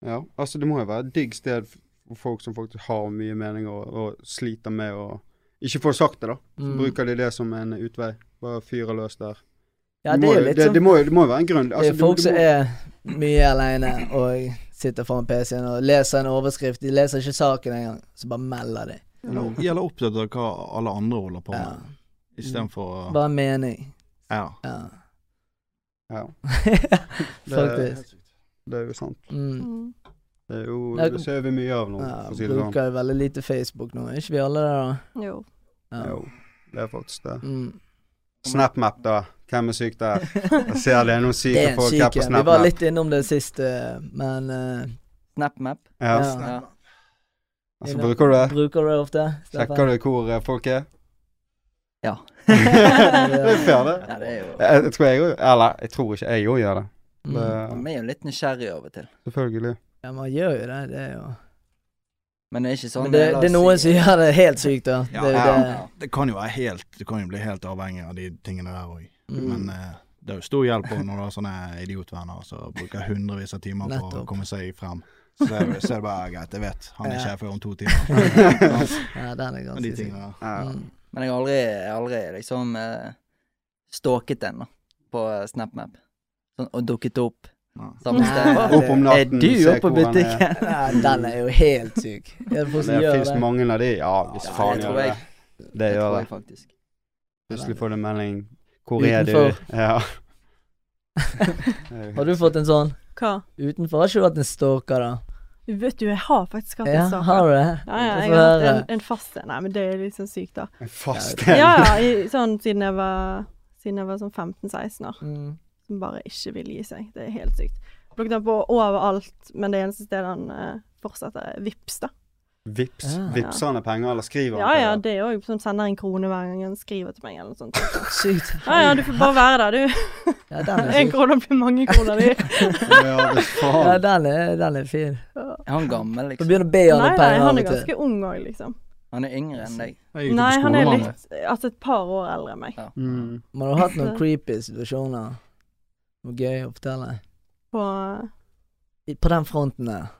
Ja, altså det må jo være et digg sted for folk som faktisk har mye meninger og, og sliter med å ikke få sagt det, da. Så Mm. bruker de det som en utvei. Bare fyrer løs der. Ja, det er jo litt det, sånn det, må, jo- det må jo være en grunn. Det Altså, er folk du, som du må, er mye aleine og sitter foran PC-en og leser en overskrift. De leser ikke saken engang, så bare melder de. Eller, eller opptatt av hva alle andre holder på Ja. med, istedenfor å Bare mening. Ja. Ja. Ja, Faktisk. det er jo sant. Mm. Mm. Det er jo Jeg- Det ser vi mye av nå, Ja, for å si det sånn. bruker jo veldig lite Facebook nå, er ikke vi alle der, Jo. da? Jo, sånn. det er faktisk det. Mm. SnapMap, da. Hvem er syk der? Jeg ser det er noen Det syke er en folk her syk på en. Vi var SnapMap. litt innom det sist, eh, men eh, SnapMap. Ja. ja. Ja. Så bruker du det. Bruker du det ofte? Sjekker du hvor eh, folk er? Ja. det er fair, det. ja, det er jo Jeg, jeg tror jeg òg Eller, jeg tror ikke jeg òg gjør det. det. Man er jo litt nysgjerrig av og til. Selvfølgelig. Mm. Ja, man gjør jo det. Det er jo Men det er ikke sånn Men det, la oss det er noen si- som gjør det helt sykt, da. Ja, Det er jo ja. det. Det kan jo være helt Du kan jo bli helt avhengig av de tingene der òg. Mm. Men eh, det er jo stor hjelp også når du har sånne idiotvenner som bruker hundrevis av timer på å Nettopp. komme seg frem. Så det er, så er det bare ja, greit, jeg vet. Han er Ja. sjef før om to timer. Ja, den Men er de ganske syk. tingene der. Ja. Mm. Men jeg har aldri, jeg har aldri liksom eh, stalket den da, på eh, SnapMap. Sånn, og dukket opp Ja. samme sted. Nei. Opp om natten, Er du se oppe på hvor han er. butikken? Ja, den er jo helt syk. Er det folk som Det gjør fins det? mange av de. Ja, hvis Ja, faen det gjør tror det. jeg. Det Det gjør tror det. jeg faktisk. Plutselig får du en melding. Hvor er du? Utenfor. Ja. Har du fått en sånn? Hva? Utenfor har ikke du hatt en stalker, da? Vet du, jeg har faktisk hatt Ja, en sak. har du det? Ja, ja, Få jeg har hatt høre. en, en fast en. Nei, men det er liksom sykt, da. En fast Ja, en. ja, i, sånn siden jeg var, siden jeg var sånn 15-16 år. Mm. Som bare ikke vil gi seg. Det er helt sykt. Plukket han på overalt, men det eneste stedet han eh, fortsetter, er Vips da. Vips. Ja. Vipser han deg penger, eller skriver Ja han ja, til deg? det òg. Som sender en krone hver gang han skriver til meg eller noe sånt. Sykt. Ja ja, du får bare være der, du. Ja, den er En syk. krone blir mange kroner, de. Ja, hvis Ja, faen. den er, den er fin. Er han gammel, Du liksom? begynner å be han Nei, om nei, penger av han er og til. ganske ung òg, liksom. Han er yngre enn deg. Jeg gikk jo på Nei, han skole er med han, litt Altså et par år eldre enn meg. Mm. Man har hatt noen creepy situasjoner. Noe gøy å fortelle. På I- På den fronten der.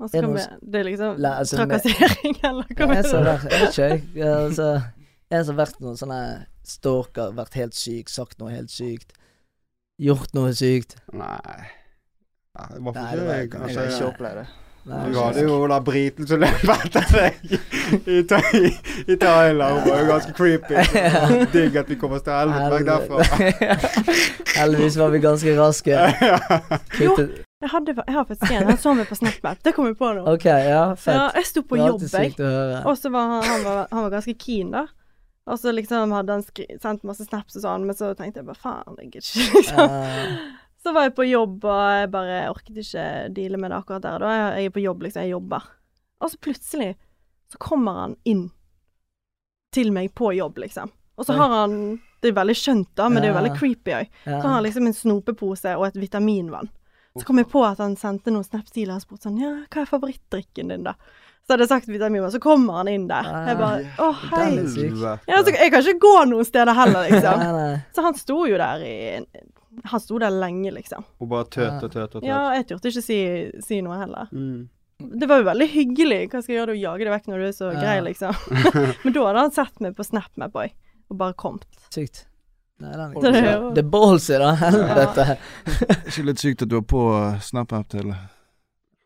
og så Er det kan noe vi, Det er liksom La- altså, med- trakassering, eller hva Jeg er som det? har vært, jeg vet ikke, jeg, altså, jeg som har vært noen sånne stalker, vært helt syk, sagt noe helt sykt, gjort noe sykt. Nei. Nei, det Nei, var for det var- jeg, Jeg altså, har ikke jeg, opplevd det. Nei, jeg hadde jo da briten som løp etter deg i, Tha- i, i Thailand. Hun var jo ganske creepy. Så Digg at vi kom oss til helvete vekk derfra. Heldigvis var vi ganske raske. Jo. Kuttet- Jeg, hadde, jeg har faktisk en. Han så meg på SnapMap. Det kom jeg på nå. Ok, ja, Ja, fett. jeg sto på Det er jobb, alltid jeg. sykt å høre. Og så var han, han, var, han var ganske keen, da. Og så liksom hadde han skri sendt masse snaps og sånn, men så tenkte jeg bare faen, jeg gidder ikke, liksom. Ja. Så var jeg på jobb, og jeg bare orket ikke deale med det akkurat der. Da jeg, jeg er på jobb, liksom. Jeg jobber. Og så plutselig så kommer han inn til meg på jobb, liksom. Og så Oi. har han Det er veldig skjønt, da, men det er jo Ja. veldig creepy òg. Så har han liksom en snopepose og et vitaminvann. Så kom jeg på at han sendte noen snaps til og spurte sånn Ja, hva er favorittdrikken din, da? Så hadde jeg sagt vitaminvann, så kommer han inn der. Jeg bare Å, hei. Ah, Den er syk. Ja, så jeg kan ikke gå noen steder heller, liksom. Nei, nei. Så han sto jo der i Han sto der lenge, liksom. Og bare tøt og tøt og tøt. Ja, jeg turte ikke si, si noe heller. Mm. Det var jo veldig hyggelig. Hva skal jeg gjøre, du jage det vekk når du er så Ja. grei, liksom. Men da hadde han sett meg på SnapMap òg, og bare kommet. Sykt. Nei, den Så det er er jo- Det er ballsy, da. Helvete. Ikke litt sykt at du har på eh, SnapApp til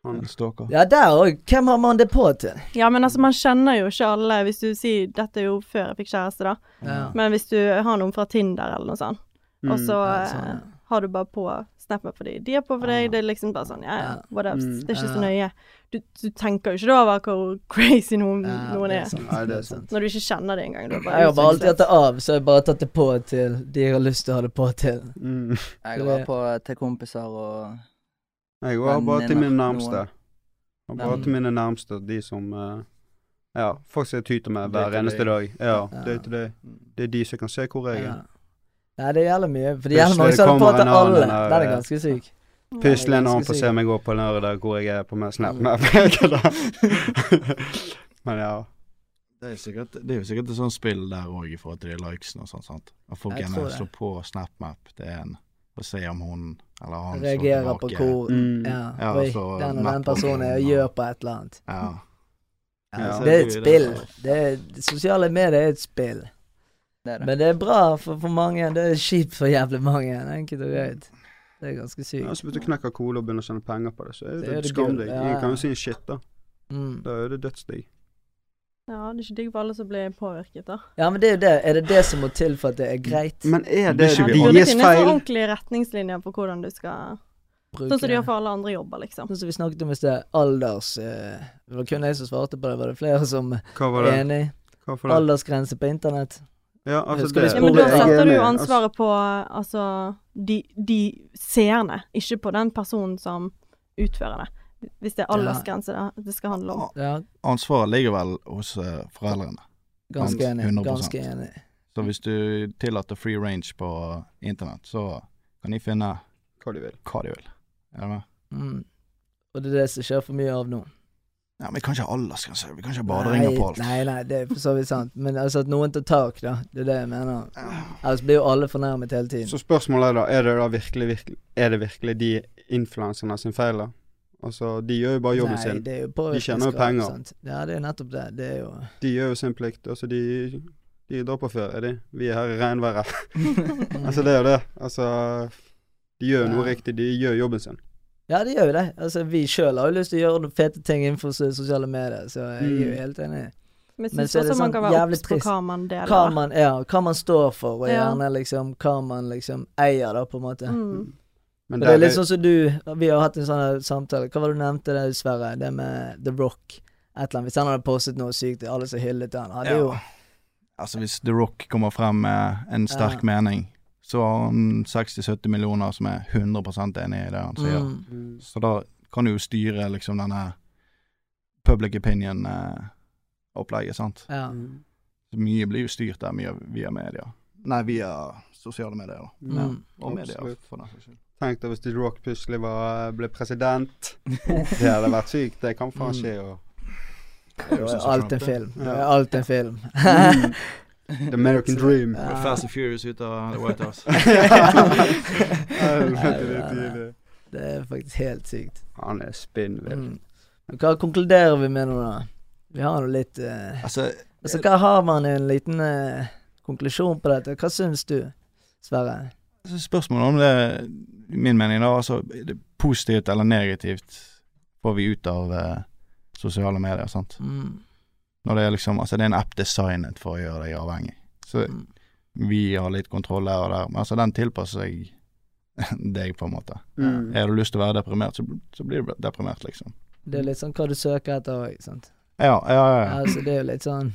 Han- en stalker? Ja, der òg. Hvem har man det på til? Ja, men altså, man kjenner jo ikke alle Hvis du sier Dette er jo før jeg fikk kjæreste, da. Mm. Ja. Men hvis du har noen fra Tinder eller noe sånt, og så Ja, sånn, eh, ja. har du bare på SnapMap fordi de er på for deg, det er liksom bare sånn ja, ja, Ja. whatever, Mm. det er ikke så Ja. nøye. Du, du tenker jo ikke da over hvor crazy noen, Ja, noen det er, sant, Nei, det er sant. når du ikke kjenner det engang. du er bare Jeg har bare alltid utviklet. hatt det av, så jeg har bare tatt det på til de jeg har lyst til å ha det på til. Mm. Jeg var på eh, til kompiser og Jeg går bare til mine nærmeste. Jeg går Ja. Bare til mine nærmeste, de som eh, Ja, folk som jeg tyter med Day hver to eneste day. dag. Ja, Ja. Mm. day to day. Det er de som kan se hvor jeg Ja. er. Nei, det gjelder mye. For det Hvis gjelder mange det som har det på kommer en til alle. annen her, Den er eh, ganske syk. Pusle ganske når han får se sykt. meg gå på den der hvor jeg er på min snap. Mm. Nei, jeg kødder. Men ja. Det er, sikkert, det er jo sikkert et sånt spill der òg, i forhold til de likesene og sånn. sant? At folk Jeg gjerne tror det. slår på SnapMap til en og ser om hun eller han Reagerer på hvor Mm. ja, Ja, Oi, så den og den napper personen er noen, og og- gjør på et eller annet. Ja. Ja, Ja. så Det er et spill. Det er, sosiale medier er et spill. det er det. Men det er bra for, for mange. Det er kjipt for jævlig mange. Enkelt og greit. Det er ganske ja sykt. så hvis du knekker kode og begynner å tjene penger på det, så er Det det, er det det skam gull, deg. ja. Ingen kan jo si en shit, da. Mm. Da er det dødsdigg. Ja, det er ikke digg for alle som blir påvirket, da. Ja, men det er jo det. Er det det som må til for at det er greit? Men er Det det er ikke Ja, vi det alle. burde deres finnes feil? noen ordentlige retningslinjer på hvordan du skal Bruke Sånn som de det. har for alle andre jobber, liksom. Sånn som vi snakket om i sted, alders eh, Det var kun jeg som svarte på det, var det flere som Hva var er det? enig? Hva for det? Aldersgrense på internett. Ja, altså Skal vi det Ja, men da det- jeg er setter du enig. jo Altså, ansvaret på altså de, de seerne, ikke på den personen som utfører det. Hvis det er Ja. aldersgrense det, det skal handle om. Ja, Ansvaret ligger vel hos eh, foreldrene. Sant, ganske enig. 100%. Ganske enig. Så hvis du tillater free range på internett, så kan de finne Hva de vil. hva de vil. Er du med? Mm. Og det er det som skjer for mye av nå. Ja, men vi kan ikke ha aldersgrense. Vi kan ikke ha baderinger på alt. Nei, nei, det er for så vidt sant. Men altså at noen tar tak, da. Det er det jeg mener. Ellers blir jo alle fornærmet hele tiden. Så spørsmålet er da, er det da virkelig, virkelig, er det virkelig de influenserne sin feil da? Altså, de gjør jo bare jobben nei, sin. det er jo tjener jo påvirkningsgrad, penger. sant. Ja, det er nettopp det. Det er jo De gjør jo sin plikt. Altså, de, de drar på ferie, de. Vi er her i regnværet. Mm. Altså, det er jo det. Altså, de gjør jo noe Ja. riktig. De gjør jobben sin. Ja, det gjør jo det. Altså, vi sjøl har jo lyst til å gjøre noen fete ting innenfor so- sosiale medier, så jeg er Mm. jo helt enig. Men Men jeg syns så er også det man sånn kan være jævlig obs på trist. hva man deler. Hva man, ja, hva man står for, og Ja. gjerne liksom hva man liksom eier, da, på en måte. Mm. Men Men det der er litt sånn som du Vi har hatt en sånn her samtale. Hva var det du nevnte der, Sverre? Det med The Rock. Et eller annet. Hvis han hadde postet noe sykt, alle som hyllet han, hadde jo Ja. Altså, hvis The Rock kommer frem med en sterk Ja. mening, så har han 60-70 millioner som er 100 enig i det han sier. mm, Mm. Så da kan du jo styre liksom denne public opinion-opplegget, sant. ja. Mm. Mye blir jo styrt der, mye via media. Nei, via sosiale medier, da. Mm. Og media, Absolutt. for den saks skyld. Tenk deg hvis The Rock plutselig var, ble president. Det hadde vært sykt. Det kan faen Mm. skje. Og Det Mm. er jo sånn som Alt en Trump er. film. Ja. Alt en film. Mm. The American Dream. Ja. Fast and Furious ut av The White House. Helvete, det er tidlig. Det er faktisk helt sykt. Han er spinnvill. Mm. Men hva konkluderer vi med nå, da? Vi har nå litt eh, Altså, Altså, hva har man en liten eh, konklusjon på dette? Hva syns du, Sverre? altså, spørsmålet om det Min mening, da. Altså, er det positivt eller negativt får vi ut av eh, sosiale medier, sant. Mm. Når det er liksom Altså, det er en app designet for å gjøre deg avhengig. Så Mm. vi har litt kontroll her og der, men altså, den tilpasser seg deg, på en måte. Mm. Har du lyst til å være deprimert, så, så blir du deprimert, liksom. Det er litt sånn hva du søker etter òg, sant. Ja, ja, ja. ja. Altså, det er jo litt sånn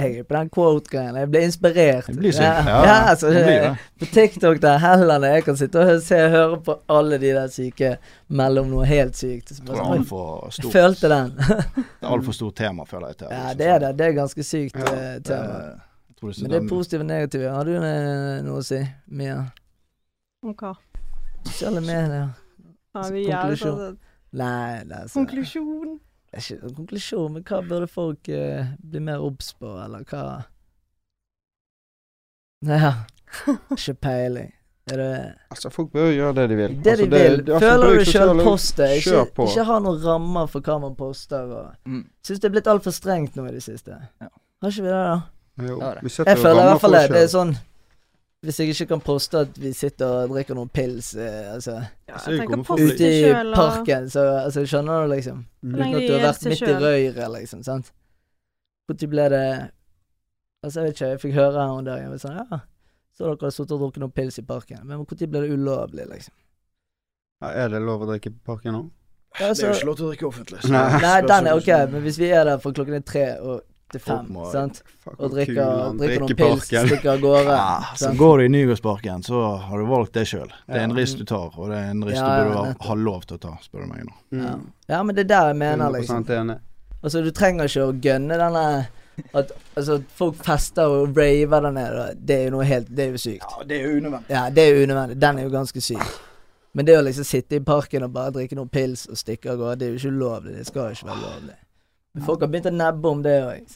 Jeg er på den quote-greien. Jeg blir inspirert. Det blir sykt. Ja, ja, altså, det blir det- det. På TikTok der heller det. Jeg kan sitte og hø- se og høre på alle de der syke mellom noe helt sykt. Så Jeg bare tror det er sånn, altfor jeg stort. følte den. Det Mm. er altfor stort tema, føler jeg. Til, at Ja, liksom det er sånn- det. Det er ganske sykt Ja, eh, tema. Eh, jeg tror Men det er den- positive og negative. Har du eh, noe å si, Mia? Ok. Sosiale medier? Ja, Altså, vi gjør det konklusjon. sånn. Nei, det er altså det Konklusjon. er ikke noen konklusjon, men hva burde folk eh, bli mer obs på, eller hva Ja, ikke peiling. Er det Altså, folk bør gjøre det de vil. det altså, de vil? det- altså, Føler bruk du sjøl sosiale- postet? Ikke, Kjør på. ikke ha noen rammer for hva man poster. og Mm. Syns det er blitt altfor strengt nå i det siste. Ja. Har ikke vi det, da? Jo, Ja, det. vi setter Jeg føler i rammer hvert fall for det. oss Det er selv. sånn Hvis jeg ikke kan poste at vi sitter og drikker noen pils eh, altså, Ja, Altså, jeg det tenker kommer folk- ute post i deg selv, og parken, så altså, skjønner du, liksom. Mm. Nei. Uten at du har vært midt i røyret, liksom. sant? Når ble det Altså, jeg vet ikke, jeg fikk høre her om dagen jeg var sånn, ja, Så dere har sittet og drukket noen pils i parken, men når ble det ulovlig, liksom? Ja, er det lov å drikke på parken nå? Ja, Det er så- jo ikke lov til å drikke offentlig. Nei. altså- Nei, den er ok, liksom- men hvis vi er der fra klokken er tre og til fem, Åpenbart. sant, Fuck, og hvor kul drikker, han drikker drikker noen pils, parken. stikker av gårde Ja, Ah, så sant? går du i Nygårdsparken, så har du valgt det sjøl. Det er en Ja. rist du tar, og det er en rist Ja, ja, du burde nettopp. ha- ha lov til å ta, spør du meg nå. Ja. Mm. ja, men det er der jeg mener, liksom. 100% enig. Altså, du trenger ikke å gønne denne at, altså, at folk fester og raver der nede. da. Det er jo noe helt Det er jo sykt. Ja, det er jo unødvendig. Ja, det er jo unødvendig. Den er jo ganske syk. Men det å liksom sitte i parken og bare drikke noen pils og stikke av gårde, det er jo ikke ulovlig. Det skal jo ikke være lovlig. Men folk har begynt å nebbe om det òg.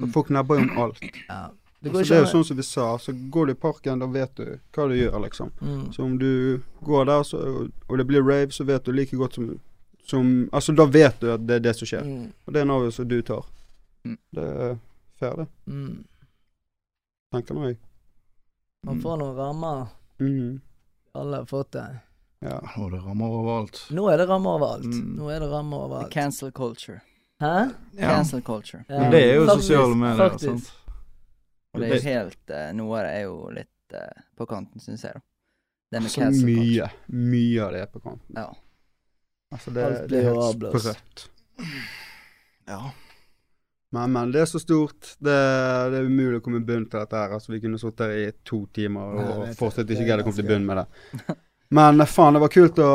Så folk nebber jo om alt. Ja. Mm. Det går Altså, det er jo ikke an. sånn som vi sa, så går du i parken, da vet du hva du gjør, liksom. Mm. Så om du går der, så, og det blir rave, så vet du like godt som, som Altså, da vet du at det er det som skjer. Mm. Og det er en avgjørelse du tar. Mm. Det er fair, det. Mm. Tenker nå jeg. Man får noen rammer. Mhm. Alle har fått det. Ja. Og det rammer overalt. Nå er det rammer overalt. Mm. Nå er det rammer The overalt. cancel culture. Hæ? Ja. Cancel culture. Ja. Men det er jo Faktisk, sosiale medier, faktisk. sant. Og det er jo helt eh, Noe av det er jo litt eh, på kanten, syns jeg, da. Det med Så cancel culture. mye, mye av det er på kanten. Ja. Altså, det, Alt det blir er jo helt avblåst. sprøtt. Ja. Men, men det er så stort. Det, det er umulig å komme i bunnen til dette her. Altså, vi kunne sittet her i to timer Nei, jeg og vet det. fortsatt Det ikke er greid å komme til ganske- bunnen med det. Men eh, faen, det var kult å,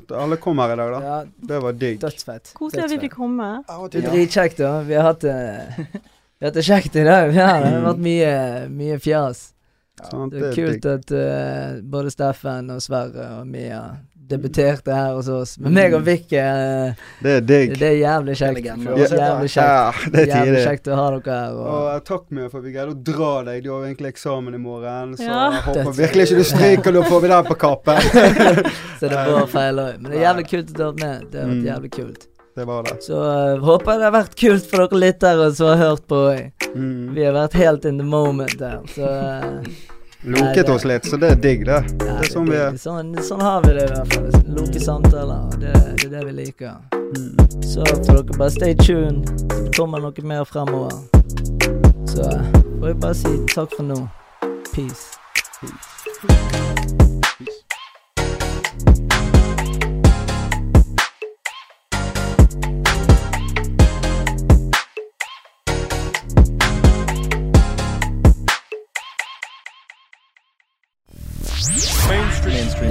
at alle kom her i dag, da. Ja, Det var digg. dødsfett. koselig at vi fikk komme. Det er dritkjekt, da. Vi har hatt det vi har hatt det kjekt i dag. Ja, det har vært mye, mye fjas. Sant? Det er er digg. kult at eh, både Steffen og Sverre og Mia debuterte her hos oss. Men meg og Vikke, eh, Det er digg. det er jævlig kjekt. Legender. Jævlig kjekt. Ja, det er Jævlig tidlig. kjekt å ha dere her. Og Og, eh, takk Mia for at vi greide å dra deg. Du har jo egentlig eksamen i morgen, så Ja. jeg håper Dødsfett. virkelig ikke du stryker. Nå får vi den på kappen. så det er vår feil òg. Men det er jævlig kult å ta opp med. Det har vært Mm. jævlig kult. det var det. Så eh, håper jeg det har vært kult for dere lyttere som har hørt på. Mm. Vi har vært helt in the moment der. Så eh, Loket oss litt, så det er digg, det. ja, Det er sånn vi er. sånn, sånn har vi det i hvert fall. Lukke samtaler. og Det, det er det vi liker. Mm. Så får dere bare stay tuned. Så kommer det noe mer fremover. Så eh, får jeg bare si takk for nå. Peace. mainstream mainstream